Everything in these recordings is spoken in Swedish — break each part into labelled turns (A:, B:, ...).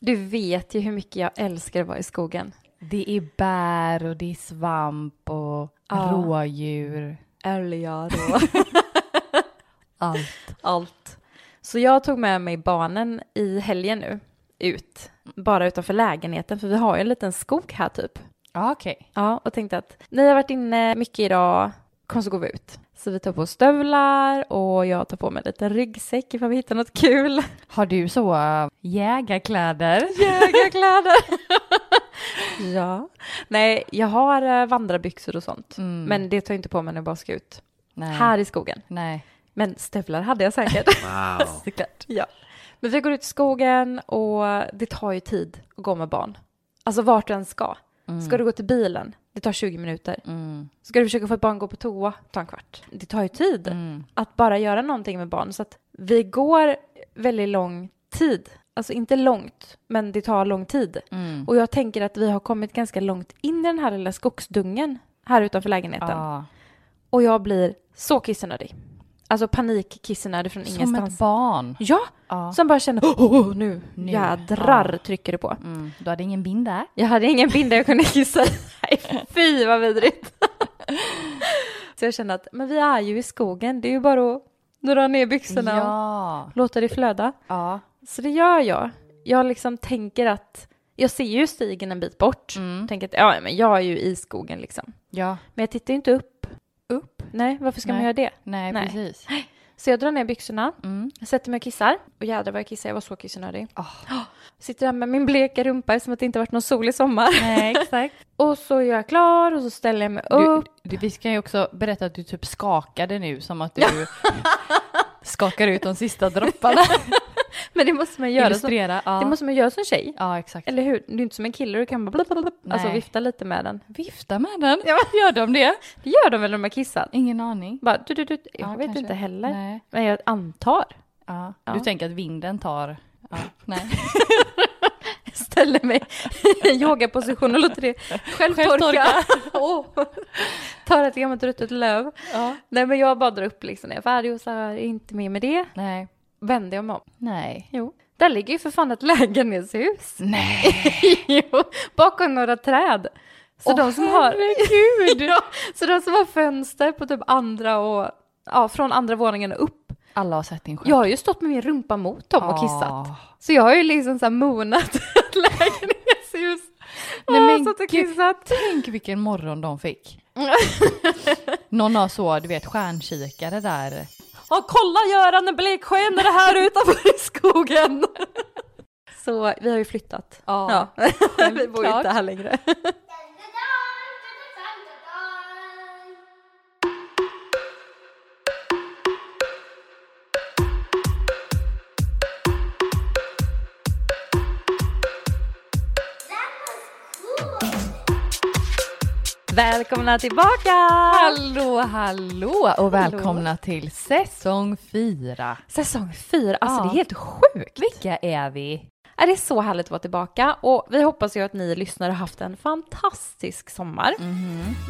A: Du vet ju hur mycket jag älskar att vara i skogen.
B: Det är bär och det är svamp och
A: Ja.
B: rådjur.
A: Älgar och
B: Allt.
A: allt. Så jag tog med mig barnen i helgen nu ut, bara utanför lägenheten, för vi har ju en liten skog här typ.
B: Ja, okej.
A: Ja, och tänkte att ni har varit inne mycket idag, kom så går vi ut. Så vi tar på oss stövlar och jag tar på mig lite ryggsäck ifall vi hittar något kul.
B: Har du så äh, jägarkläder?
A: Jägarkläder! ja. Nej, jag har eh, vandrarbyxor och sånt.
B: Mm.
A: Men det tar jag inte på mig när jag bara ska ut.
B: Nej.
A: Här i skogen.
B: Nej.
A: Men stövlar hade jag säkert.
C: Wow.
B: Såklart.
A: ja. Men vi går ut i skogen och det tar ju tid att gå med barn. Alltså vart du än ska. Ska du gå till bilen? Det tar 20 minuter.
B: Mm.
A: Ska du försöka få ett barn att gå på toa? Det tar en kvart. Det tar ju tid
B: Mm.
A: att bara göra någonting med barn. Så att vi går väldigt lång tid. Alltså inte långt, men det tar lång tid.
B: Mm.
A: Och jag tänker att vi har kommit ganska långt in i den här lilla skogsdungen här utanför lägenheten.
B: Ja.
A: Och jag blir så kissnödig. Alltså panikkissnödig från
B: Som
A: ingenstans.
B: ett barn.
A: Ja,
B: Ja.
A: som bara känner oh, oh, nu,
B: Nu.
A: jädrar trycker det på.
B: Mm. Du hade ingen bind där?
A: Jag hade ingen binda jag kunde kissa i. Nej, Fy vad vidrigt. Så jag kände att men vi är ju i skogen, det är ju bara att dra ner byxorna och
B: Ja.
A: låta det flöda.
B: ja.
A: Så det gör jag. Jag liksom tänker att jag ser ju stigen en bit bort.
B: Mm.
A: Tänker att ja, men jag är ju i skogen liksom.
B: Ja.
A: Men jag tittar ju inte upp.
B: Upp?
A: Nej, varför ska man
B: Nej.
A: göra det?
B: Nej,
A: Nej.
B: precis.
A: Så jag drar ner byxorna,
B: Mm.
A: sätter mig och kissar. Och jädrar vad jag kissar, jag var så kissnödig. Sitter där med min bleka rumpa som att det inte varit någon sol i sommar.
B: Nej, exakt.
A: Och så gör jag klar och så ställer jag mig
B: Du,
A: upp.
B: du, vi ska ju också berätta att du typ skakade nu som att du skakar ut de sista dropparna.
A: Men det måste man göra som,
B: Illustrera. Ja.
A: det måste man göra som tjej.
B: ja, exakt.
A: Eller hur? Du är inte som en kille, du kan bara blablabla, alltså
B: Nej.
A: vifta lite med den.
B: Vifta med den.
A: Ja.
B: Gör de det?
A: Det gör de väl när de har kissat?
B: Ingen aning.
A: Bara, du, du, du. Jag
B: Ja,
A: vet
B: kanske.
A: inte heller.
B: Nej.
A: Men jag antar.
B: Ja.
A: Ja.
B: Du tänker att vinden tar... Ja. Nej.
A: Ställer mig i en yogaposition och låter det självtorka. Åh. Tar ett gammalt ruttet löv.
B: Ja.
A: Nej men jag bara drar upp liksom när jag är färdig och så här, är inte mer med det.
B: Nej.
A: Vänder jag mig om.
B: Nej.
A: Jo. Där ligger ju för fan ett lägenhetshus.
B: Nej.
A: jo, bakom några träd. Så,
B: Åh,
A: de som har,
B: herregud.
A: ja, så de som har fönster på typ andra och ja, från andra våningen och upp.
B: Alla har sett din skärm.
A: Jag har ju stått med min rumpa mot dem och kissat.
B: Ah.
A: Så jag har ju liksom så här monat ett lägenhetshus. Ah,
B: Nej, men
A: satt och
B: gud.
A: kissat.
B: Tänk vilken morgon de fick. Någon har så, du vet, stjärnkikare där.
A: Ja, kolla Göran, en bleksken är det här utanför i skogen. Så vi har ju flyttat.
B: Ja.
A: vi bor ju inte här längre. Välkomna tillbaka!
B: Hallå, hallå och välkomna till säsong fyra.
A: Säsong fyra, alltså
B: Ja.
A: det är helt sjukt.
B: Vilka är vi?
A: Ja, Det är så härligt att vara tillbaka och vi hoppas ju att ni lyssnare har haft en fantastisk sommar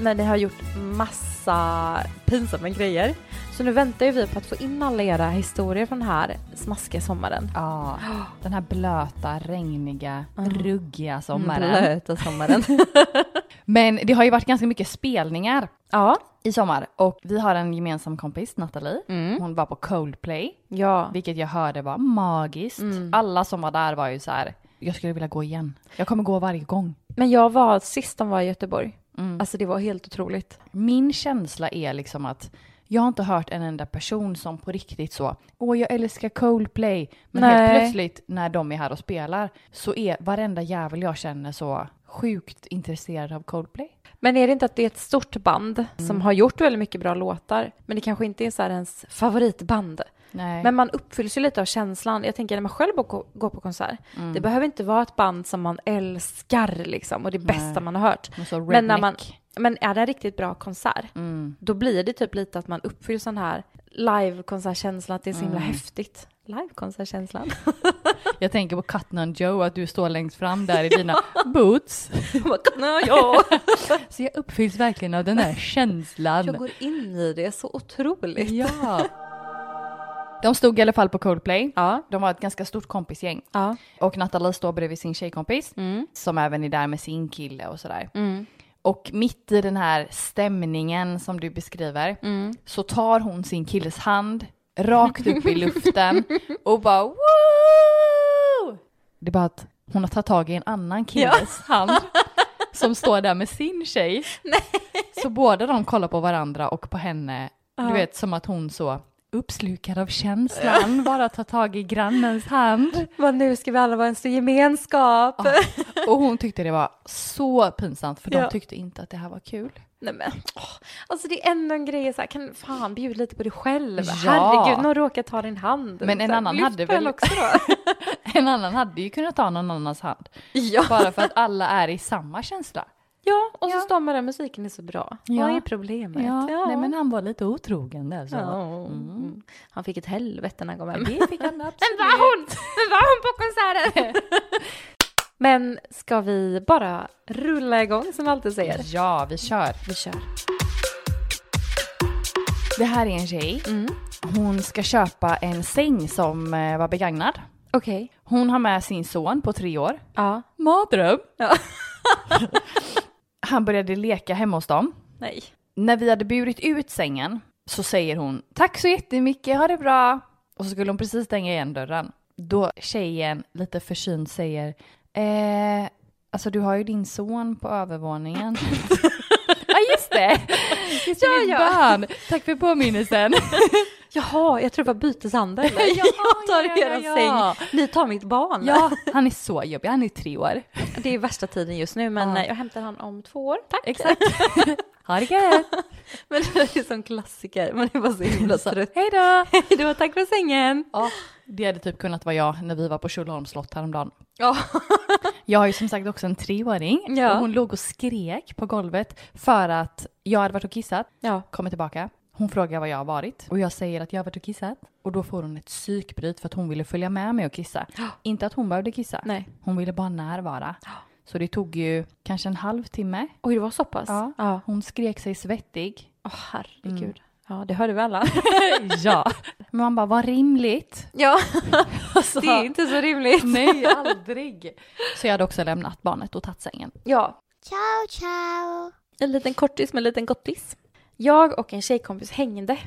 A: när ni har gjort massa pinsamma grejer. Så nu väntar ju vi på att få in alla era historier från den här smaskiga sommaren.
B: Ja, den här blöta, regniga, ruggiga sommaren.
A: Blöta sommaren.
B: Men det har ju varit ganska mycket spelningar
A: ja.
B: i sommar och vi har en gemensam kompis, Nathalie. Hon var på Coldplay,
A: Ja.
B: vilket jag hörde var magiskt. Alla som var där var ju så här, jag skulle vilja gå igen. Jag kommer gå varje gång.
A: Men jag var, sist de var i Göteborg, alltså det var helt otroligt.
B: Min känsla är liksom att jag har inte hört en enda person som på riktigt så, åh jag älskar Coldplay, men helt
A: Nej.
B: plötsligt när de är här och spelar så är varenda jävel jag känner så sjukt intresserad av Coldplay.
A: Men är det inte att det är ett stort band som har gjort väldigt mycket bra låtar, men det kanske inte är så här ens favoritband?
B: Nej.
A: Men man uppfylls ju lite av känslan. Jag tänker när man själv går går på konsert, det behöver inte vara ett band som man älskar liksom och det bästa man har hört.
B: Men Mm. så
A: Men, när
B: redneck.
A: man, men är det en riktigt bra konsert, då blir det typ lite att man uppfylls den här livekonsertkänslan, att det är så himla häftigt. Livekonsertkänslan.
B: Jag tänker på Cutnan Joe, att du står längst fram där i dina boots.
A: Nej, ja.
B: Så jag uppfylls verkligen av den där känslan.
A: Jag går in i det så otroligt.
B: Ja. De stod i alla fall på Coldplay.
A: Ja.
B: De var ett ganska stort kompisgäng.
A: Ja.
B: Och Nathalie står bredvid sin tjejkompis
A: Mm.
B: som även är där med sin kille och sådär.
A: Mm.
B: Och mitt i den här stämningen som du beskriver
A: Mm.
B: så tar hon sin killes hand rakt upp i luften och bara Woo! Det är bara att hon har tagit tag i en annan killes hand som står där med sin tjej. Så båda de kollar på varandra och på henne, du vet som att hon så uppslukad av känslan bara tar tag i grannens hand.
A: Vad nu ska vi alla vara en stor gemenskap.
B: Och hon tyckte det var så pinsamt för de
A: Ja.
B: tyckte inte att det här var kul.
A: Nej men, åh. alltså det är ändå en grej så här, kan fan bjud lite på dig själv.
B: Ja.
A: Herregud, någon råkar ta din hand.
B: Men en
A: Så här,
B: annan
A: lyft
B: hade
A: på den
B: väl-
A: också då.
B: En annan hade ju kunnat ta någon annans hand.
A: ja.
B: Bara för att alla är i samma känsla.
A: ja, och så
B: Ja.
A: står man där, musiken är så bra.
B: Ja.
A: Vad är problemet?
B: Nej, men han var lite otrogen där. Så.
A: Ja. Mm. Han fick ett helvete när han kom hem.
B: Det fick han absolut.
A: Men var hon? Men var hon på konserten? Men ska vi bara rulla igång som vi alltid säger?
B: Ja, vi kör.
A: Vi kör.
B: Det här är en tjej.
A: Mm.
B: Hon ska köpa en säng som eh, var begagnad.
A: Okej.
B: Hon har med sin son på tre år.
A: Ja.
B: Mardröm.
A: Ja.
B: Han började leka hemma hos dem.
A: Nej.
B: När vi hade burit ut sängen så säger hon tack så jättemycket, ha det bra. Och så skulle hon precis stänga igen dörren. Då tjejen lite försynt säger eh, alltså du har ju din son på övervåningen. ja just det! Just det,
A: Ja,
B: mitt
A: ja.
B: barn. Tack för påminnelsen.
A: Jaha, jag tror det var byteshandel.
B: Jaha,
A: jag tar
B: ja, ja,
A: er
B: ja.
A: säng, ni tar mitt barn.
B: ja, han är så jobbig, han är tre år.
A: Det är värsta tiden just nu men
B: Ja.
A: eh, jag hämtar han om två år. Tack.
B: Exakt. ha det gött.
A: Men det är som klassiker, man är bara så himla trött.
B: Hej då!
A: Hejdå, tack för sängen.
B: Ja, det hade typ kunnat vara jag när vi var på Tjolöholms slott häromdagen.
A: Ja.
B: Jag har ju som sagt också en treåring
A: Ja.
B: och hon låg och skrek på golvet för att jag hade varit och kissat,
A: Ja.
B: kommer tillbaka. Hon frågar var jag har varit och jag säger att jag har varit och kissat och då får hon ett psykbryt för att hon ville följa med mig och kissa. Inte att hon behövde kissa,
A: Nej.
B: hon ville bara närvara. Så det tog ju kanske en halvtimme.
A: Oj, det var så pass?
B: Ja.
A: ja. Mm.
B: Hon skrek sig svettig.
A: Åh, herregud. Ja, det hörde vi alla.
B: ja. Men man bara, vad rimligt.
A: Ja,
B: Alltså,
A: det är inte så rimligt.
B: Nej, aldrig. Så jag hade också lämnat barnet och tagit sängen.
A: Ja,
C: Ciao, ciao.
A: En liten kortis med en liten gottis. Jag och en tjejkompis hängde.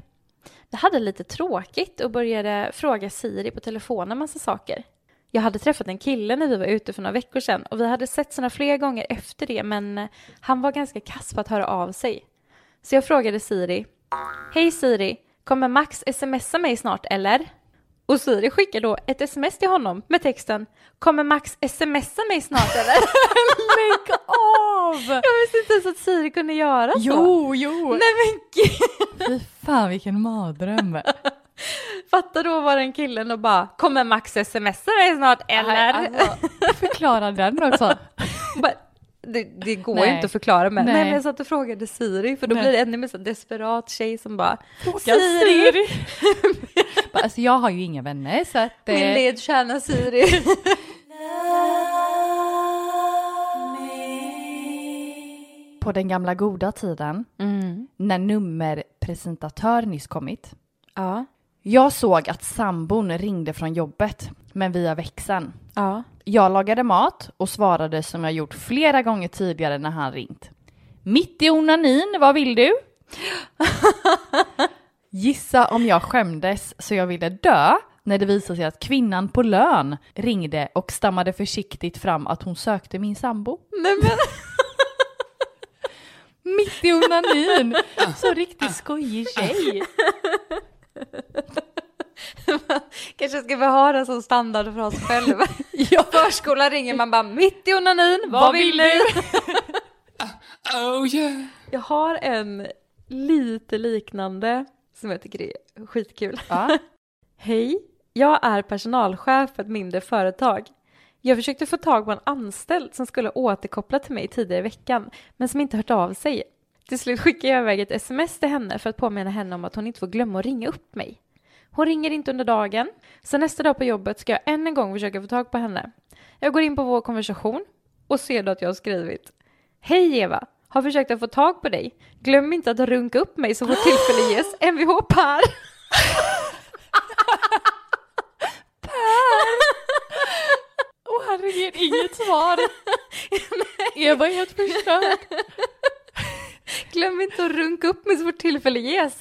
A: Vi hade lite tråkigt och började fråga Siri på telefonen massa saker. Jag hade träffat en kille när vi var ute för några veckor sedan och vi hade sett såna flera gånger efter det men han var ganska kass på att höra av sig. Så jag frågade Siri. Hej Siri, kommer Max smsa mig snart eller? Och Siri skickar då ett sms till honom med texten Kommer Max smsa mig snart eller?
B: Lägg av!
A: Jag visste inte ens att Siri kunde göra så.
B: Jo, jo!
A: Nej men gud!
B: Fy fan vilken mardröm.
A: Fatta då var den killen och bara “Kommer Max smsa dig snart eller?”
B: Alltså, förklara den också.
A: Bara, det, det går
B: Nej.
A: ju inte att förklara men,
B: Nej.
A: nej. men jag satt och frågade Siri för då
B: Nej.
A: blir det ännu mer så här desperat tjej som bara “Fråga
B: Bara, Alltså jag har ju inga vänner så att... eh,
A: Min ledstjärna Siri!”
B: På den gamla goda tiden
A: Mm.
B: när nummerpresentatör nyss kommit.
A: Ja,
B: Jag såg att sambon ringde från jobbet men via växeln.
A: ja,
B: Jag lagade mat och svarade som jag gjort flera gånger tidigare när han ringt. Mitt i onanin, vad vill du? Gissa om jag skämdes så jag ville dö när det visade sig att kvinnan på lön ringde och stammade försiktigt fram att hon sökte min sambo.
A: nej men
B: Mitt i onanin! Så riktigt skojig tjej.
A: kanske ska vi ha den som standard för oss själva. Förskolan ringer man bara “Mitt i onanin, vad, vill du?”
C: Oh, yeah.
A: Jag har en lite liknande som jag tycker är skitkul.
B: Ja.
A: Hej, jag är personalchef för ett mindre företag. Jag försökte få tag på en anställd som skulle återkoppla till mig tidigare i veckan, men som inte hört av sig. Till slut skickade jag iväg ett sms till henne för att påminna henne om att hon inte får glömma att ringa upp mig. Hon ringer inte under dagen, så nästa dag på jobbet ska jag än en gång försöka få tag på henne. Jag går in på vår konversation och ser då att jag har skrivit Hej Eva, har försökt att få tag på dig. Glöm inte att runka upp mig så fort tillfälle ges. Mvh Per.
B: ger inget svar. Eva är helt förstörd.
A: Glöm inte att runka upp mig så fort tillfälle ges.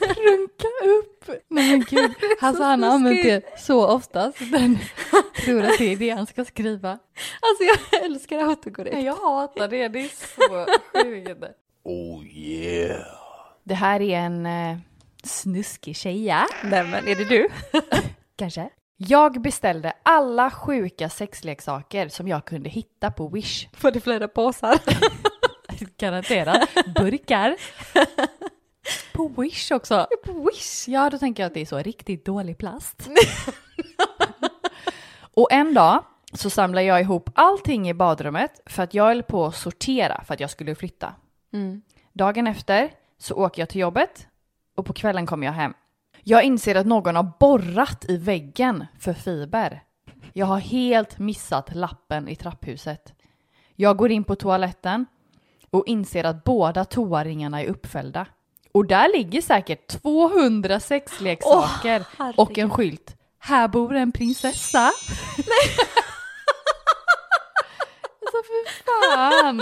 B: Runka upp. Nej men gud. Alltså han har använt det så ofta så den tror att det är det han ska skriva.
A: Alltså jag älskar autokorrekt.
B: Nej, jag hatar det, det är så sjukt.
D: Oh yeah.
B: Det här är en eh, snuskig tjeja.
A: Nej men är det du?
B: Kanske. Jag beställde alla sjuka sexleksaker som jag kunde hitta på Wish.
A: Var det flera påsar?
B: Garanterat. Burkar. På Wish också.
A: Wish!
B: Ja, då tänker jag att det är så riktigt dålig plast. och en dag så samlade jag ihop allting i badrummet för att jag höll på att sortera för att jag skulle flytta.
A: Mm.
B: Dagen efter så åker jag till jobbet och på kvällen kommer jag hem. Jag inser att någon har borrat i väggen för fiber. Jag har helt missat lappen i trapphuset. Jag går in på toaletten och inser att båda toaringarna är uppfällda. Och där ligger säkert 200 sexleksaker
A: Åh,
B: och en skylt. Här bor en prinsessa. alltså Alltså, för fan.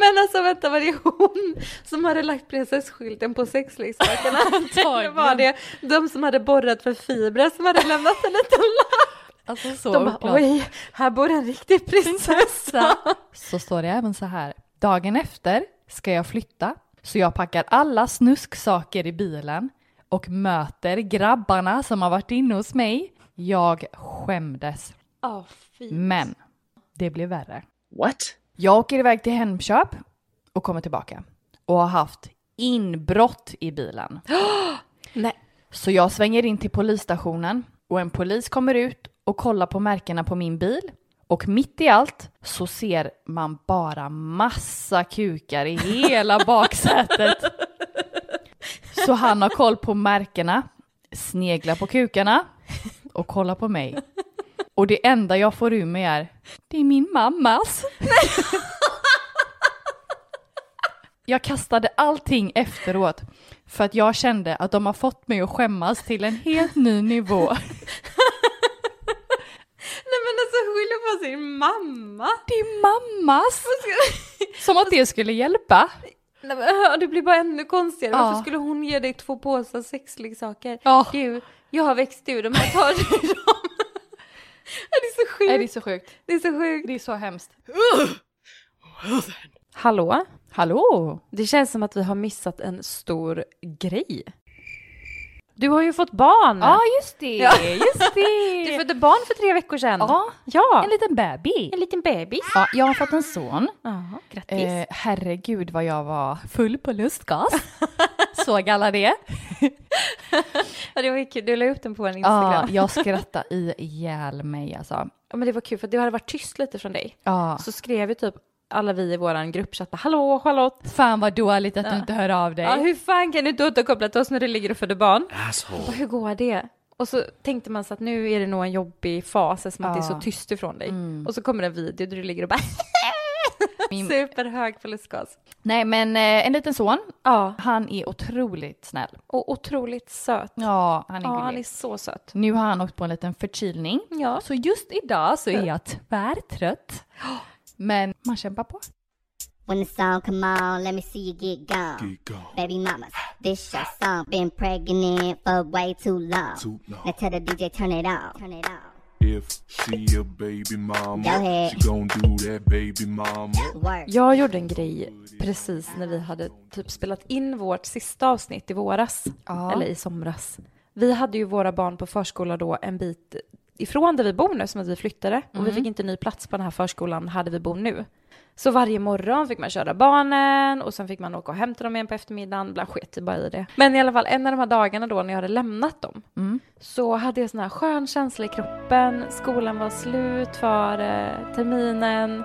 A: Men alltså vänta, var det hon som hade lagt prinsesskylten på sexleksakerna? Eller var det de som hade borrat för fibrer som hade lämnat en liten lapp?
B: Alltså så
A: De bara
B: oklart.
A: oj, här bor en riktig prinsessa.
B: Så står det även så här. Dagen efter ska jag flytta så jag packar alla snusksaker i bilen och möter grabbarna som har varit inne hos mig. Jag skämdes.
A: Ja, fy.
B: Men det blev värre.
E: What?
B: Jag åker iväg till Hemköp och kommer tillbaka och har haft inbrott i bilen.
A: Nej.
B: Så jag svänger in till polisstationen och en polis kommer ut och kollar på märkena på min bil. Och mitt i allt så ser man bara massa kukar i hela baksätet. Så han har koll på märkena, sneglar på kukarna och kollar på mig. Och det enda jag får ur mig är, det är min mammas. Jag kastade allting efteråt för att jag kände att de har fått mig att skämmas till en helt ny nivå.
A: Nej men alltså skyller på sin mamma.
B: Det är mammas! Som att det skulle hjälpa.
A: Nej, men, det blir bara ännu konstigare.
B: Ja.
A: Varför skulle hon ge dig två påsar sexleksaker?
B: Ja.
A: Du, jag har växt ur dem, här tar du dem. Ja, det är så sjukt.
B: Nej, det är så sjukt.
A: det är så sjukt.
B: Det är så hemskt.
A: Hallå?
B: Hallå!
A: Det känns som att vi har missat en stor grej. Du har ju fått barn!
B: Ja, just det! Just det!
A: Du födde barn för tre veckor sedan.
B: Ja,
A: ja.
B: en liten baby.
A: En liten bebis.
B: Ja, jag har fått en son.
A: Ja, grattis.
B: Eh, herregud vad jag var full på lustgas. Såg alla det?
A: Ja, det var ju kul, du la upp den på vår Instagram.
B: Ja, jag skrattade ihjäl mig alltså.
A: Ja, men det var kul för det hade varit tyst lite från dig.
B: Ja.
A: Så skrev ju typ alla vi i våran gruppchatt bara, hallå Charlotte!
B: Fan vad dåligt att du inte hör av dig.
A: Ja, hur fan kan du inte återkoppla till oss när du ligger och föder barn? Och
D: Asshole.
A: hur går det? Och så tänkte man så att nu är det nog en jobbig fas som att det är så tyst ifrån dig. Och så kommer en video där du ligger och bara
B: Min-
A: superhög på lustgas.
B: Nej men eh, en liten son.
A: Ja,
B: Han är otroligt snäll.
A: och otroligt söt. Ja,
B: Ja, han är
A: han är
B: gullig.
A: så söt.
B: Nu har han åkt på en liten förkylning.
A: Ja.
B: Så just idag så är jag tvärtrött. Men man kämpar på.
C: When the song come on, let me see you get gone.
D: Keep going.
C: Baby mamas, this your song. Been pregnant for way too long.
D: Too long.
C: Now tell the DJ turn it off. Turn it off.
D: If she a baby
C: Go
D: mama,
C: ahead.
D: she gon' do that baby mama.
C: Work.
A: Jag gjorde en grej precis när vi hade typ spelat in vårt sista avsnitt i våras,
B: Ja.
A: eller i somras. Vi hade ju våra barn på förskola då en bit ifrån där vi bor nu, som att vi flyttade. Och vi fick inte ny plats på den här förskolan hade vi bor nu. Så varje morgon fick man köra barnen och sen fick man åka och hämta dem igen på eftermiddagen. Ibland sket jag bara i det. Men i alla fall en av de här dagarna då när jag hade lämnat dem så hade jag sån här skön känsla i kroppen. Skolan var slut för eh, terminen.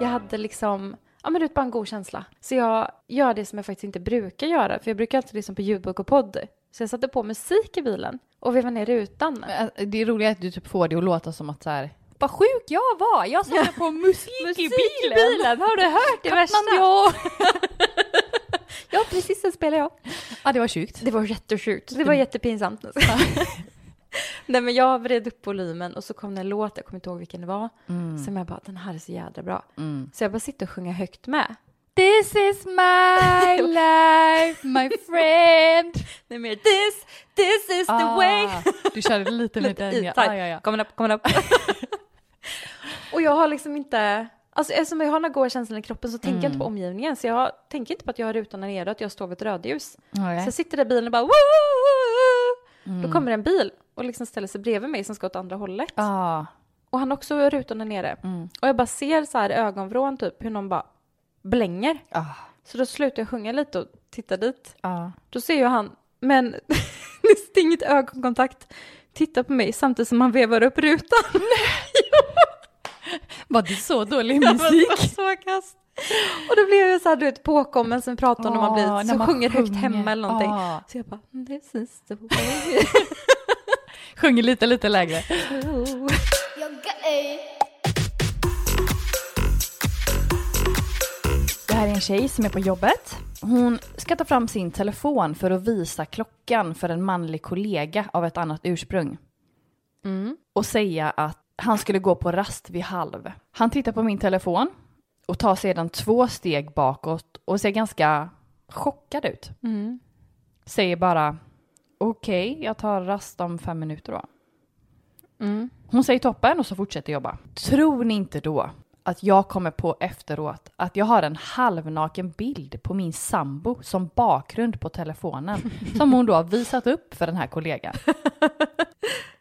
A: Jag hade liksom, ja men du vet bara en god känsla. Så jag gör det som jag faktiskt inte brukar göra för jag brukar alltid lyssna på ljudbok och podd. Så jag satte på musik i bilen och vevade ner rutan.
B: Men, eh, Det är roligt att du typ får det att låta som att så här, vad sjuk jag var, jag satte på musik i bilen.
A: har du hört det värsta? Ja precis, den spelade jag.
B: Ja, det var sjukt.
A: Det var jättesjukt. Det var jättepinsamt. Nej men jag vred upp volymen och så kom det en låt, jag kommer inte ihåg vilken det var,
B: Mm.
A: som jag bara, den här är så jädra bra. Så jag bara sitter och sjunger högt med.
B: This is my life, my friend.
A: Nej mer this, this is the way.
B: Ah, du körde lite med
A: Lite
B: den.
A: E-type.
B: Ja. Ah, ja, ja.
A: Coming up, coming up. och jag har liksom inte, alltså eftersom jag har den här goa känslan i kroppen så tänker jag inte på
B: Mm.
A: omgivningen. Så jag tänker inte på att jag har rutorna nere och att jag står vid ett rödljus. Så
B: Okej. Mm.
A: jag sitter där i bilen och bara woo! Då kommer det en bil och liksom ställer sig bredvid mig som ska åt andra hållet.
B: Ah,
A: Och
B: Mm.
A: han har också rutorna nere. Och jag bara ser så här i ögonvrån typ hur någon bara blänger.
B: ah,
A: Så då slutar jag sjunga lite och tittar dit.
B: ah.
A: Då ser ju han, men nästan inget ögonkontakt, titta på mig samtidigt som han vevar upp rutan.
B: Var det så dålig
A: Jag bara,
B: musik?
A: "Det var så kast. Och då blev jag så här, du vet, påkommen som vi pratar om när man
B: Ah,
A: blir,
B: när
A: som
B: man
A: sjunger högt
B: sjunger.
A: hemma eller någonting.
B: Ah.
A: Så jag bara, this is the way.
B: Sjunger lite, lite lägre. Det här är en tjej som är på jobbet. Hon ska ta fram sin telefon för att visa klockan för en manlig kollega av ett annat ursprung. Och säga att han skulle gå på rast vid halv. Han tittar på min telefon och tar sedan två steg bakåt och ser ganska chockad ut. Säger bara okej, jag tar rast om fem minuter då. Hon säger toppen och så fortsätter jobba. Tror ni inte då att jag kommer på efteråt att jag har en halvnaken bild på min sambo som bakgrund på telefonen som hon då har visat upp för den här kollegan.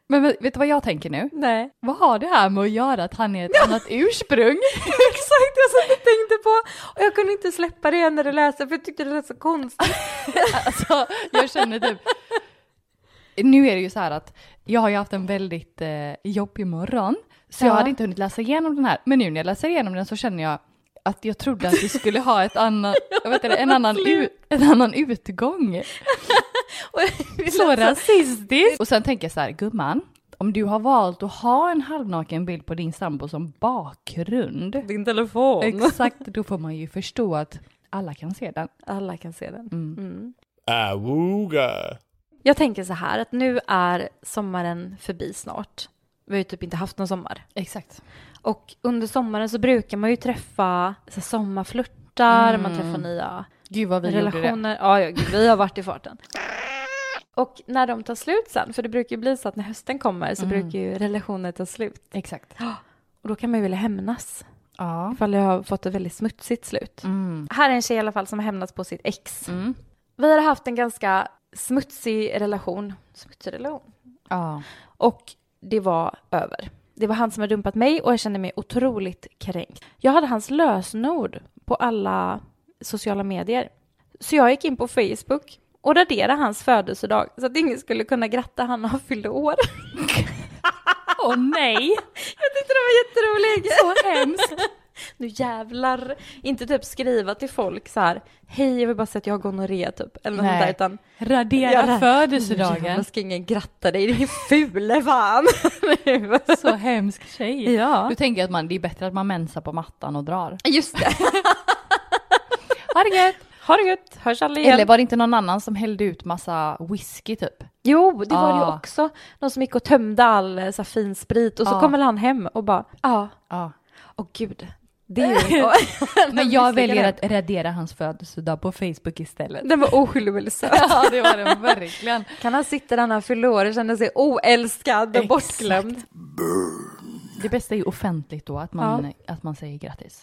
B: Men vet vet du vad jag tänker nu?
A: Nej.
B: Vad har det här med att göra att han är ett annat ursprung?
A: Exakt, jag satt och tänkte på och jag kunde inte släppa det när du läste för jag tyckte det lät så konstigt.
B: Alltså, jag känner typ... Nu är det ju så här att jag har ju haft en väldigt eh, jobbig morgon, så jag
A: Ja.
B: hade inte hunnit läsa igenom den här. Men nu när jag läser igenom den så känner jag att jag trodde att vi skulle ha ett annan, jag vet inte, en, annan u, en annan utgång. Så rasistiskt! Och sen tänker jag så här, gumman, om du har valt att ha en halvnaken bild på din sambo som bakgrund,
A: Din telefon.
B: exakt, då får man ju förstå att alla kan se den.
A: Alla kan se den.
E: Awooga.
A: Mm. Jag tänker så här att nu är sommaren förbi snart. Vi har ju typ inte haft någon sommar.
B: Exakt.
A: Och under sommaren så brukar man ju träffa så här, sommarflörtar, man träffar nya
B: Gud vad vi gjorde det.
A: relationer. Ja, ja, gud, vi har varit i farten. Och när de tar slut sen, för det brukar ju bli så att när hösten kommer så brukar ju relationer ta slut.
B: Exakt.
A: Och då kan man ju vilja hämnas.
B: Ja.
A: Ifall jag har fått ett väldigt smutsigt slut. Här är en tjej i alla fall som har hämnats på sitt ex.
B: Mm.
A: Vi har haft en ganska smutsig relation. Smutsig relation?
B: Ja.
A: Och det var över. Det var han som hade dumpat mig och jag kände mig otroligt kränkt. Jag hade hans lösenord på alla sociala medier. Så jag gick in på Facebook och raderade hans födelsedag så att ingen skulle kunna gratta han när han fyllde år.
B: Åh nej!
A: Jag tyckte det var jätteroligt.
B: Så hemskt.
A: Nu jävlar. Inte typ skriva till folk så här. Hej, jag vill bara säga att jag har gonorré typ. Eller något
B: Nej.
A: sånt där. Utan
B: Radera
A: Ja.
B: födelsedagen.
A: Jag ska ingen gratta dig, din fule fan.
B: Så hemsk tjej.
A: ja.
B: Du tänker att man, det är bättre att man mensar på mattan och drar.
A: Just det.
B: Ha det gött.
A: Ha det gött, hörs alla igen.
B: Eller var det inte någon annan som hällde ut massa whisky typ?
A: Jo, det var det ju
B: Ah.
A: också. Någon som gick och tömde all eh, så här, fin sprit och så
B: Ah.
A: kom väl han hem och bara ja,
B: Ja.
A: åh gud. Det är ju...
B: Men jag
A: Misslyckade.
B: väljer att radera hans födelsedag på Facebook istället.
A: Den var oskyldig väldigt söt.
B: Ja det var den verkligen.
A: Kan han sitta där när han fyllde år och känna sig oälskad och
B: Exakt.
A: bortglömd?
B: Det bästa är ju offentligt då, att man, att man säger grattis.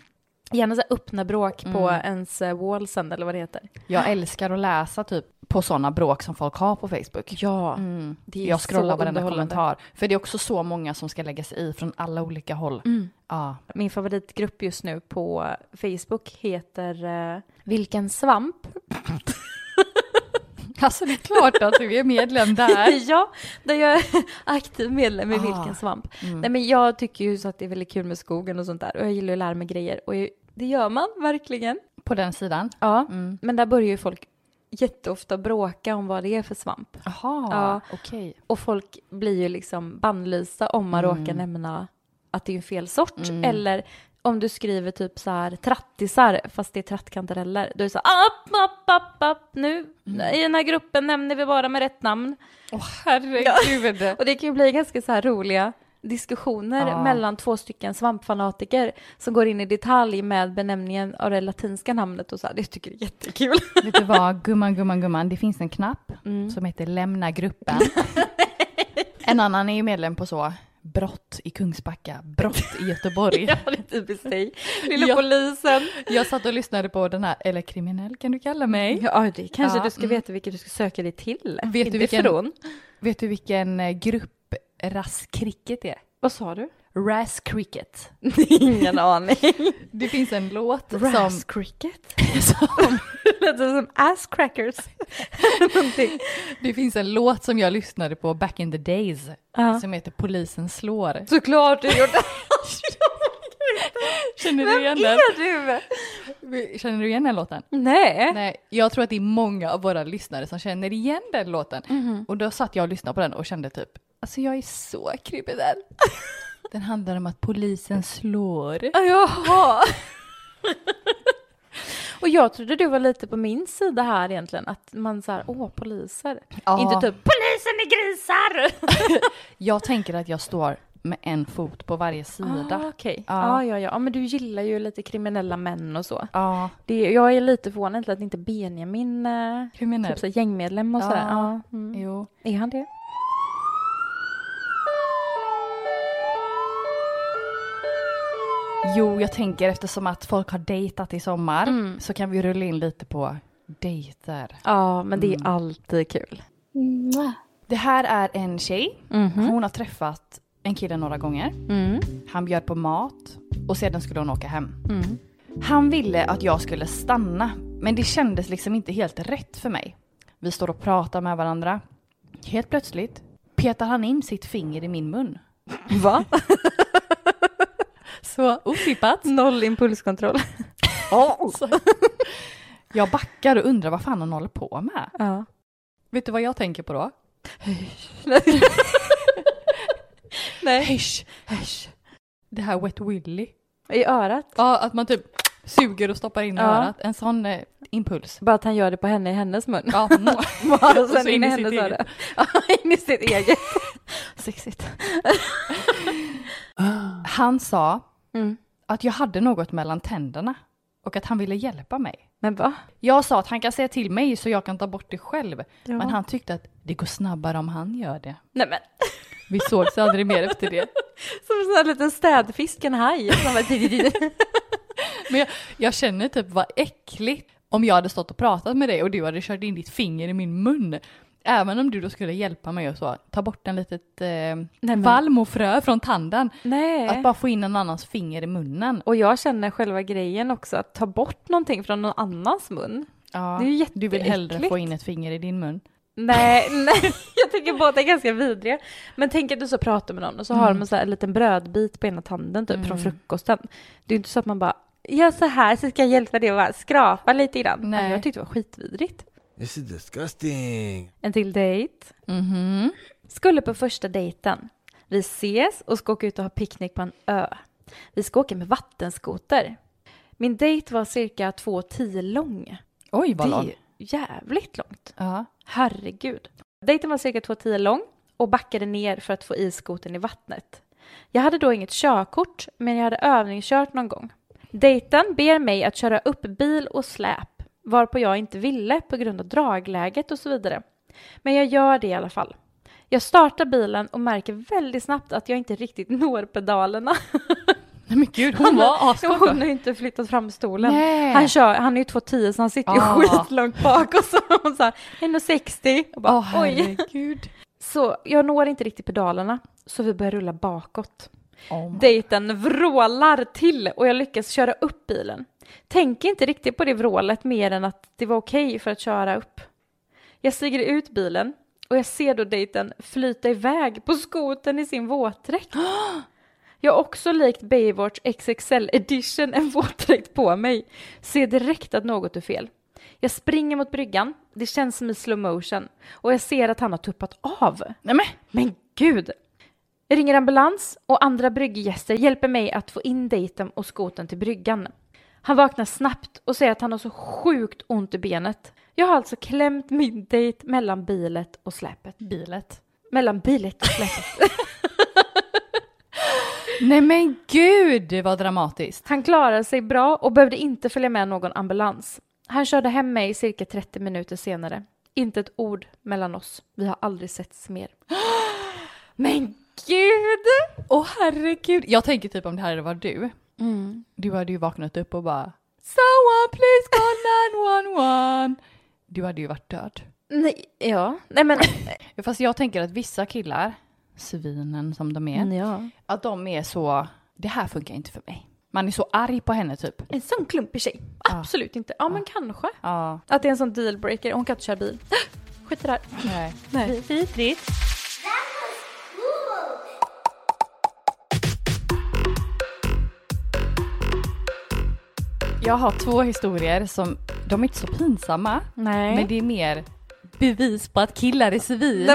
A: Gärna så här öppna bråk på ens eh, wall sen eller vad det heter.
B: Jag älskar att läsa typ på sådana bråk som folk har på Facebook.
A: Ja,
B: Mm.
A: det är
B: Jag scrollar
A: så
B: varenda
A: underhållande.
B: kommentar. För det är också så många som ska lägga sig i från alla olika håll.
A: Mm.
B: Ja.
A: Min favoritgrupp just nu på Facebook heter eh, Vilken svamp?
B: Alltså det är klart att du är medlem där.
A: ja, där jag är aktiv medlem i
B: Ah.
A: Vilken svamp. Nej, men jag tycker ju så att det är väldigt kul med skogen och sånt där och jag gillar att lära mig grejer och jag, det gör man verkligen.
B: På den sidan?
A: Ja, men där börjar ju folk jätteofta bråka om vad det är för svamp
B: Jaha,
A: Ja.
B: okej. Mm.
A: och folk blir ju liksom bannlysta om man råkar nämna att det är fel sort eller om du skriver typ så här trattisar fast det är trattkantareller. Då är det så här app, app, app, app nu. I den här gruppen nämner vi bara med rätt namn.
B: Mm. Åh herregud.
A: Och det kan ju bli ganska så här roliga diskussioner
B: Ja.
A: mellan två stycken svampfanatiker som går in i detalj med benämningen av det latinska namnet och så här. Det tycker jag är jättekul.
B: Vet du vad, gumman, gumman, gumman, det finns en knapp
A: Mm.
B: som heter lämna gruppen. en annan är ju medlem på så brott i Kungsbacka, brott i Göteborg.
A: Ja, det är typiskt dig. Lilla
B: Ja.
A: polisen.
B: Jag satt och lyssnade på den här, eller kriminell kan du kalla mig.
A: Ja, det kanske
B: Ja,
A: du ska
B: mm.
A: veta vilket du ska söka dig till.
B: Vet
A: Inte
B: du vilken-
A: ifrån.
B: Vet du vilken eh, grupp raskricket är?
A: Vad sa du?
B: Ras Cricket.
A: Ingen aning.
B: Det finns en låt som...
A: Rass cricket? Lät det som ass crackers? Någonting.
B: Det finns en låt som jag lyssnade på back in the days
A: Ja.
B: som heter Polisen slår.
A: Såklart du gjort det.
B: Känner du
A: Vem
B: igen den?
A: är du?
B: Känner du igen den låten?
A: Nej.
B: Nej, jag tror att det är många av våra lyssnare som känner igen den låten.
A: Mhm.
B: Och då satt jag och lyssnade på den och kände typ, alltså jag är så kriminell. den handlar om att polisen slår.
A: Ja, Jaha. Och jag trodde du var lite på min sida här egentligen, att man så här, åh poliser.
B: Ja.
A: Inte typ polisen är grisar!
B: Jag tänker att jag står med en fot på varje sida.
A: Ah, Okej,
B: Ja.
A: ja. ja, ja, ja, men du gillar ju lite kriminella män och så.
B: Ja,
A: Det, jag är lite förvånad egentligen att inte Benjamin, eh,
B: kriminell.
A: typ så här gängmedlem och sådär.
B: Ja.
A: Ja. Mm.
B: Jo.
A: Är han det?
B: jo, jag tänker eftersom att folk har dejtat i sommar så kan vi rulla in lite på dejter.
A: Ja, men det är alltid kul.
B: Det här är en tjej.
A: Mm,
B: Hon har träffat en kille några gånger. Han bjöd på mat och sedan skulle hon åka hem.
A: mm.
B: Han ville att jag skulle stanna men det kändes liksom inte helt rätt för mig. Vi står och pratar med varandra. Helt plötsligt petar han in sitt finger i min mun.
A: Va?
B: Så otippat.
A: Noll impulskontroll.
B: Jag backar och undrar vad fan han håller på med.
A: Ja.
B: Vet du vad jag tänker på då?
A: Nej.
B: Hysch, hysch. Det här Wet Willy.
A: I örat.
B: Ja, att man typ suger och stoppar in i
A: Ja.
B: örat. En sån eh, impuls.
A: Bara att han gör det på henne i hennes mun.
B: Ja,
A: Bara och sen
B: Och så
A: Alltså, in
B: in
A: i
B: i
A: hennes
B: sitt
A: öra. Ja, in i sitt eget. Sexigt.
B: Han sa
A: Mm.
B: att jag hade något mellan tänderna och att han ville hjälpa mig.
A: Men va?
B: Jag sa att han kan säga till mig så jag kan ta bort det själv.
A: Ja.
B: Men han tyckte att det går snabbare om han gör det.
A: Nej men.
B: Vi sågs aldrig mer efter det.
A: Som en sån här liten städfisk, en haj. som bara-
B: Men jag, jag känner typ vad äckligt om jag hade stått och pratat med dig och du hade kört in ditt finger i min mun. Även om du då skulle hjälpa mig och så, ta bort en litet eh,
A: men-
B: valmofrö från tanden. Att
A: Nej.
B: bara få in en annans finger i munnen.
A: Och jag känner själva grejen också, att ta bort någonting från någon annans mun.
B: Ja,
A: Det är ju jätteäckligt.
B: du vill hellre få in ett finger i din mun.
A: Nej, nej, jag tycker båda är ganska vidriga. Men tänk att du så pratar med någon och så har
B: Mm.
A: de en, så här, en liten brödbit på ena tanden typ från frukosten. Det är ju inte så att man bara gör så här så ska jag hjälpa dig att bara skrapa lite grann.
B: Nej.
A: Alltså, jag tyckte det var skitvidrigt.
D: This is disgusting.
A: En till dejt.
B: Mhm.
A: Skulle på första dejten. Vi ses och ska åka ut och ha picknick på en ö. Vi ska åka med vattenskoter. Min dejt var cirka 2,10 lång.
B: Oj, vad
A: det är ju
B: långt.
A: jävligt långt.
B: Ja.
A: Herregud. Dejten var cirka 2,10 lång och backade ner för att få i skotern i vattnet. Jag hade då inget körkort, men jag hade övningskört någon gång. Dejten ber mig att köra upp bil och släp, varpå jag inte ville på grund av dragläget och så vidare. Men jag gör det i alla fall. Jag startar bilen och märker väldigt snabbt att jag inte riktigt når pedalerna.
B: Nej, men gud, hon var askort.
A: Hon har ju inte flyttat fram stolen.
B: Nej.
A: Han, kör, han är ju 2,10 så han sitter ju
B: Ah.
A: skitlångt bak och så har hon så här 1,60. Och bara,
B: Åh
A: oj.
B: herregud.
A: Så jag når inte riktigt pedalerna, så vi börjar rulla bakåt.
B: Oh my-
A: Dejten vrålar till och jag lyckas köra upp bilen. Tänker inte riktigt på det vrålet mer än att det var okej för att köra upp. Jag stiger ut bilen och jag ser då dejten flyta iväg på skoten i sin våtdräkt. Jag har också likt Baywatch XXL edition en våtdräkt på mig. Ser direkt att något är fel. Jag springer mot bryggan, det känns som i slow motion och jag ser att han har tuppat av.
B: Nej men,
A: Men gud! Jag ringer ambulans och andra brygggäster hjälper mig att få in dejten och skoten till bryggan. Han vaknar snabbt och säger att han har så sjukt ont i benet. Jag har alltså klämt min dejt mellan bilet och släpet.
B: Bilet.
A: Mellan bilet och släpet.
B: Nej men gud det var dramatiskt.
A: Han klarade sig bra och behövde inte följa med någon ambulans. Han körde hem mig cirka 30 minuter senare. Inte ett ord mellan oss. Vi har aldrig setts mer.
B: Men gud! Åh herregud. Jag tänker typ om det här hade varit du.
A: Mm.
B: Du hade ju vaknat upp och bara Someone please call 911. Du hade ju varit död.
A: Nej, ja. Nej men.
B: Fast jag tänker att vissa killar, svinen som de är,
A: ja.
B: att de är så, det här funkar inte för mig. Man är så arg på henne typ.
A: En sån klumpig tjej. Absolut inte. Ja, men kanske.
B: Ja,
A: Att det är en sån dealbreaker. Hon kan inte köra bil. Skit i det här.
B: nej.
A: Nej. Vidrigt.
B: Jag har två historier som, de är inte så pinsamma,
A: Nej.
B: men det är mer bevis på att killar är svin.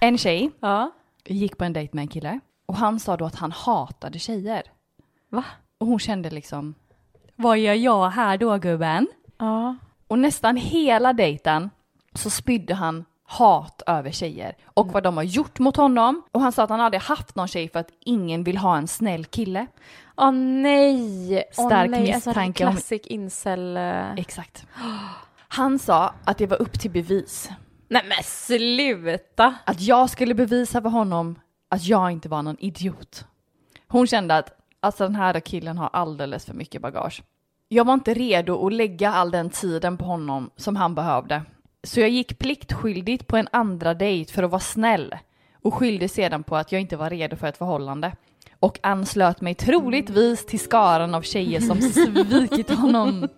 B: En tjej
A: Ja.
B: gick på en dejt med en kille och han sa då att han hatade tjejer.
A: Va?
B: Och hon kände liksom, vad gör jag här då gubben?
A: Ja.
B: Och nästan hela dejten så spydde han hat över tjejer och vad de har gjort mot honom. Och han sa att han aldrig haft någon tjej för att ingen vill ha en snäll kille.
A: Åh nej. Åh,
B: Stark
A: nej. En sån
B: misstanke om-
A: Classic incel. eh.
B: Exakt. Han sa att det var upp till bevis.
A: Nej men sluta.
B: Att jag skulle bevisa för honom att jag inte var någon idiot. Hon kände att alltså den här killen har alldeles för mycket bagage. Jag var inte redo att lägga all den tiden på honom som han behövde. Så jag gick pliktskyldigt på en andra dejt för att vara snäll och skyllde sedan på att jag inte var redo för ett förhållande och anslöt mig troligtvis till skaran av tjejer som svikit honom.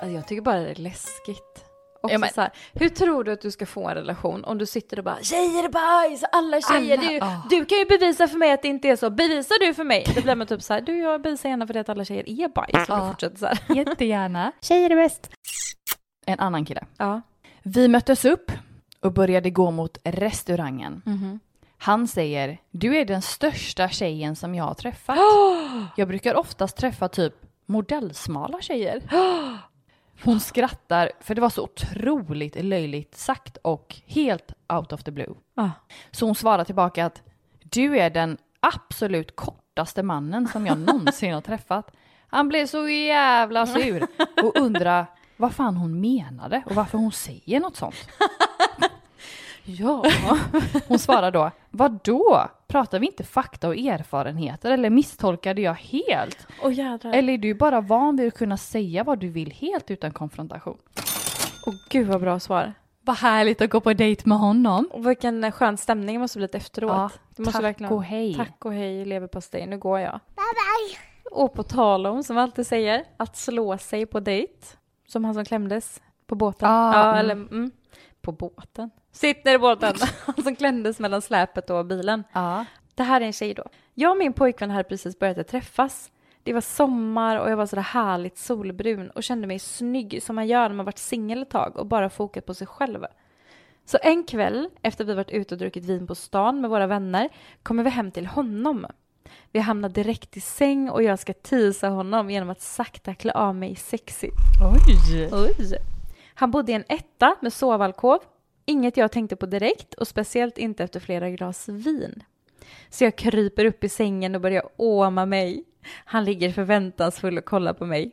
A: Alltså, jag tycker bara det är läskigt. Också
B: Ja, men-
A: så här, hur tror du att du ska få en relation om du sitter och bara “tjejer är bajs, alla tjejer,
B: Alla-
A: du,
B: ah."
A: du kan ju bevisa för mig att det inte är så, bevisar du för mig?” Då blir man typ så här “du jag bevisar gärna för dig att alla tjejer är bajs” och
B: Ja.
A: då fortsätter så här.
B: Jättegärna.
C: Tjejer är bäst.
B: En annan kille.
A: Ja.
B: Vi möttes upp och började gå mot restaurangen.
C: Mhm.
B: Han säger, du är den största tjejen som jag har träffat. Jag brukar oftast träffa typ modellsmala tjejer. Hon skrattar, för det var så otroligt löjligt sagt och helt out of the blue.
A: Ah.
B: Så hon svarar tillbaka att du är den absolut kortaste mannen som jag någonsin har träffat. Han blev så jävla sur och undrar vad fan hon menade och varför hon säger något sånt.
A: Ja.
B: Hon svarar då, vad då? Pratar vi inte fakta och erfarenheter eller misstolkade jag helt?
A: Åh jädrar. Åh
B: Eller är du bara van vid att kunna säga vad du vill helt utan konfrontation?
A: gud vad bra svar.
B: Vad härligt att gå på dejt med honom.
A: Och vilken skön stämning det måste blivit efteråt.
B: Ja,
A: det måste
B: tack och hej.
A: Tack och hej leverpastej, nu går jag. Bye bye. Och på tal om, som jag alltid säger, att slå sig på dejt. Som han som klämdes på båten.
B: Ah,
A: ja,
B: mm.
A: eller mm, på båten. Sitt ner i båten! han som klämdes mellan släpet och bilen.
B: Ja.
A: Det här är en tjej då. Jag och min pojkvän hade precis börjat att träffas. Det var sommar och jag var sådär härligt solbrun och kände mig snygg som man gör när man varit singel ett tag och bara fokat på sig själv. Så en kväll efter vi varit ute och druckit vin på stan med våra vänner kommer vi hem till honom. Vi hamnar direkt i säng och jag ska tisa honom genom att sakta klä av mig sexigt.
B: Oj!
A: Oj. Han bodde i en etta med sovalkov. Inget jag tänkte på direkt och speciellt inte efter flera glas vin. Så jag kryper upp i sängen och börjar åma mig. Han ligger förväntansfull och kollar på mig.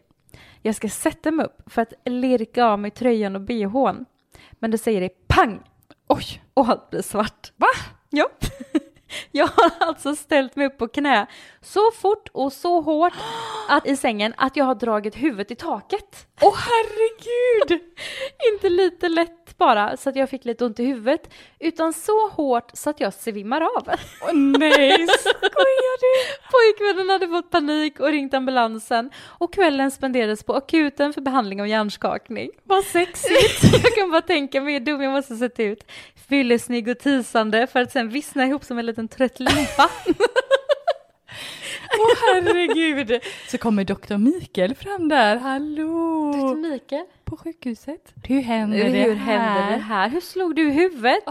A: Jag ska sätta mig upp för att lirka av mig tröjan och bhn. Men då säger det pang!
B: Oj!
A: och allt blir svart. Va? Ja. Jag har alltså ställt mig upp på knä så fort och så hårt att, i sängen att jag har dragit huvudet i taket. Åh herregud! Inte lite lätt bara så att jag fick lite ont i huvudet utan så hårt så att jag svimmar av.
B: Åh nej!
A: Skojar du? Pojkvännen hade fått panik och ringt ambulansen och kvällen spenderades på akuten för behandling av hjärnskakning.
B: Vad sexigt!
A: Jag kan bara tänka mig hur dum jag måste sett ut. Fyllesnygg och tisande för att sen vissna ihop som en liten trött limpa.
B: Åh herregud! Så kommer doktor Mikael fram där, hallå!
A: Mikael,
B: På sjukhuset. Hur händer Mm, det
A: hur
B: här?
A: hände det här? Hur slog du i huvudet?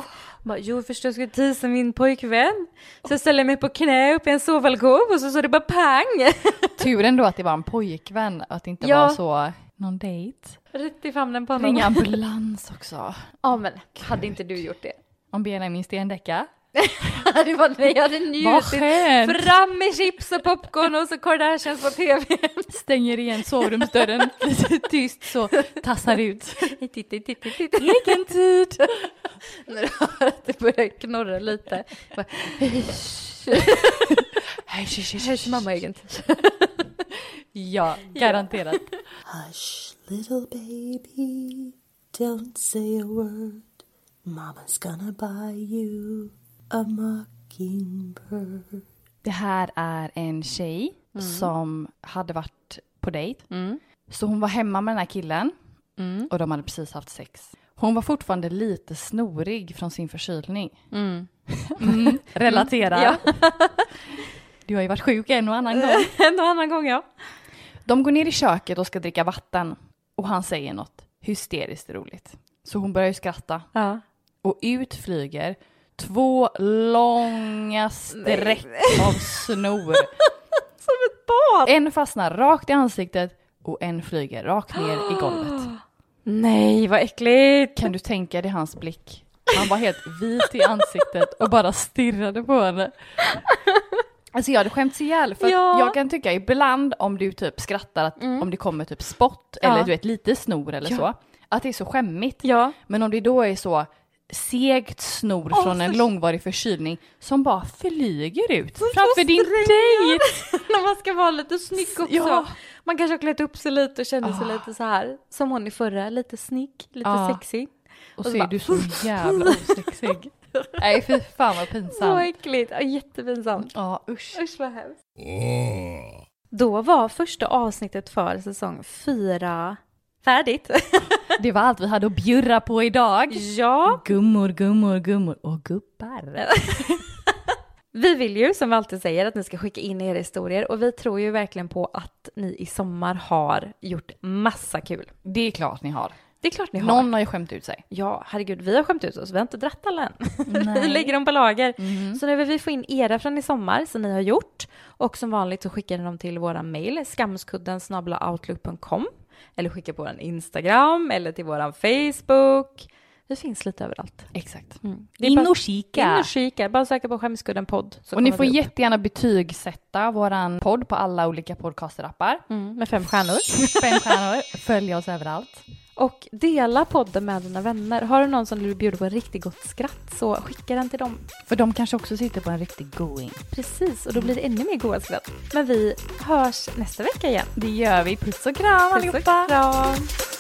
A: Bara, jo först jag skulle tisa min pojkvän. Så jag ställde mig på knä uppe i en sovalkov och så så det bara pang!
B: Turen då att det var en pojkvän och att det inte
A: Ja.
B: var så någon dejt.
A: Rätt i famnen på honom.
B: Ringa ambulans också.
A: Ja men hade inte du gjort det?
B: Om Benjamin Stendecka.
A: det var nej, jag hade
B: Vad
A: njutit.
B: skönt!
A: Fram med chips och popcorn och så Kardashians på tv.
B: Stänger igen sovrumsdörren lite tyst så tassar ut.
A: Titt, titt, titt, titt, titt.
B: Vilken tid!
A: När du hör att det börjar knorra lite. Bara, Hörs mamma egen tid.
B: Ja, garanterat.
E: Hush, little baby, don't say a word. Mama's gonna buy you a mockingbird.
B: Det här är en tjej som hade varit på dejt. Så hon var hemma med den här killen och de hade precis haft sex. Hon var fortfarande lite snorig från sin förkylning. Mm, Relaterar. Du har ju varit sjuk en och annan gång.
A: En och annan gång ja.
B: De går ner i köket och ska dricka vatten och han säger något hysteriskt roligt. Så hon börjar ju skratta
A: ja.
B: och ut flyger två långa streck av snor.
A: Som ett barn!
B: En fastnar rakt i ansiktet och en flyger rakt ner i golvet.
A: Nej vad äckligt!
B: Kan du tänka dig hans blick? Han var helt vit i ansiktet och bara stirrade på henne. Alltså jag hade skämts ihjäl för att
A: Ja. Mm.
B: jag kan tycka ibland om du typ skrattar att om det kommer typ spott
A: Ja.
B: eller du vet lite snor eller så, att det är så skämmigt.
A: Ja.
B: Men om det då är så segt snor
A: Åh,
B: från en
A: för-
B: långvarig förkylning som bara flyger ut framför din dejt.
A: När man ska vara lite snygg också.
B: Ja.
A: Man kanske har klätt upp sig lite och känner sig lite så här som hon i förra, lite snygg, lite
B: Ja.
A: sexig.
B: Och så
A: så
B: är
A: bara-
B: du så jävla osexig. Nej fy fan vad
A: Så
B: pinsamt.
A: äckligt, ja, jättepinsamt.
B: Ja usch.
A: Usch vad hemskt. Då var första avsnittet för säsong fyra färdigt.
B: Det var allt vi hade att bjurra på idag.
A: ja.
B: Gummor, gummor, gummor och gubbar.
A: Vi vill ju som vi alltid säger att ni ska skicka in era historier och vi tror ju verkligen på att ni i sommar har gjort massa kul.
B: Det är klart ni har.
A: Det är klart ni har.
B: Någon har ju skämt ut sig.
A: Ja, herregud, vi har skämt ut oss. Vi har inte dratt alla än. vi lägger dem på lager. Så nu vill vi få in era från i sommar som ni har gjort. Och som vanligt så skickar ni dem till våra mejl, skamskudden outlook.com. Eller skicka på vår Instagram eller till vår Facebook. Vi finns lite överallt.
B: Exakt.
A: Mm. Det är bara-
B: Mm. kika.
A: In och kika, bara söka på Skämskudden podd. så
B: Och ni
A: kommer
B: får
A: vi upp.
B: jättegärna betygsätta våran podd på alla olika podcasterappar.
A: Mm, med fem stjärnor.
B: Fem stjärnor, följ oss överallt.
A: Och dela podden med dina vänner. Har du någon som du vill bjuda på en riktigt gott skratt så skicka den till dem.
B: För de kanske också sitter på en riktig going.
A: Precis, och då blir det ännu mer goda skratt. Men vi hörs nästa vecka igen.
B: Det gör vi, puss och kram
A: Puss och kram!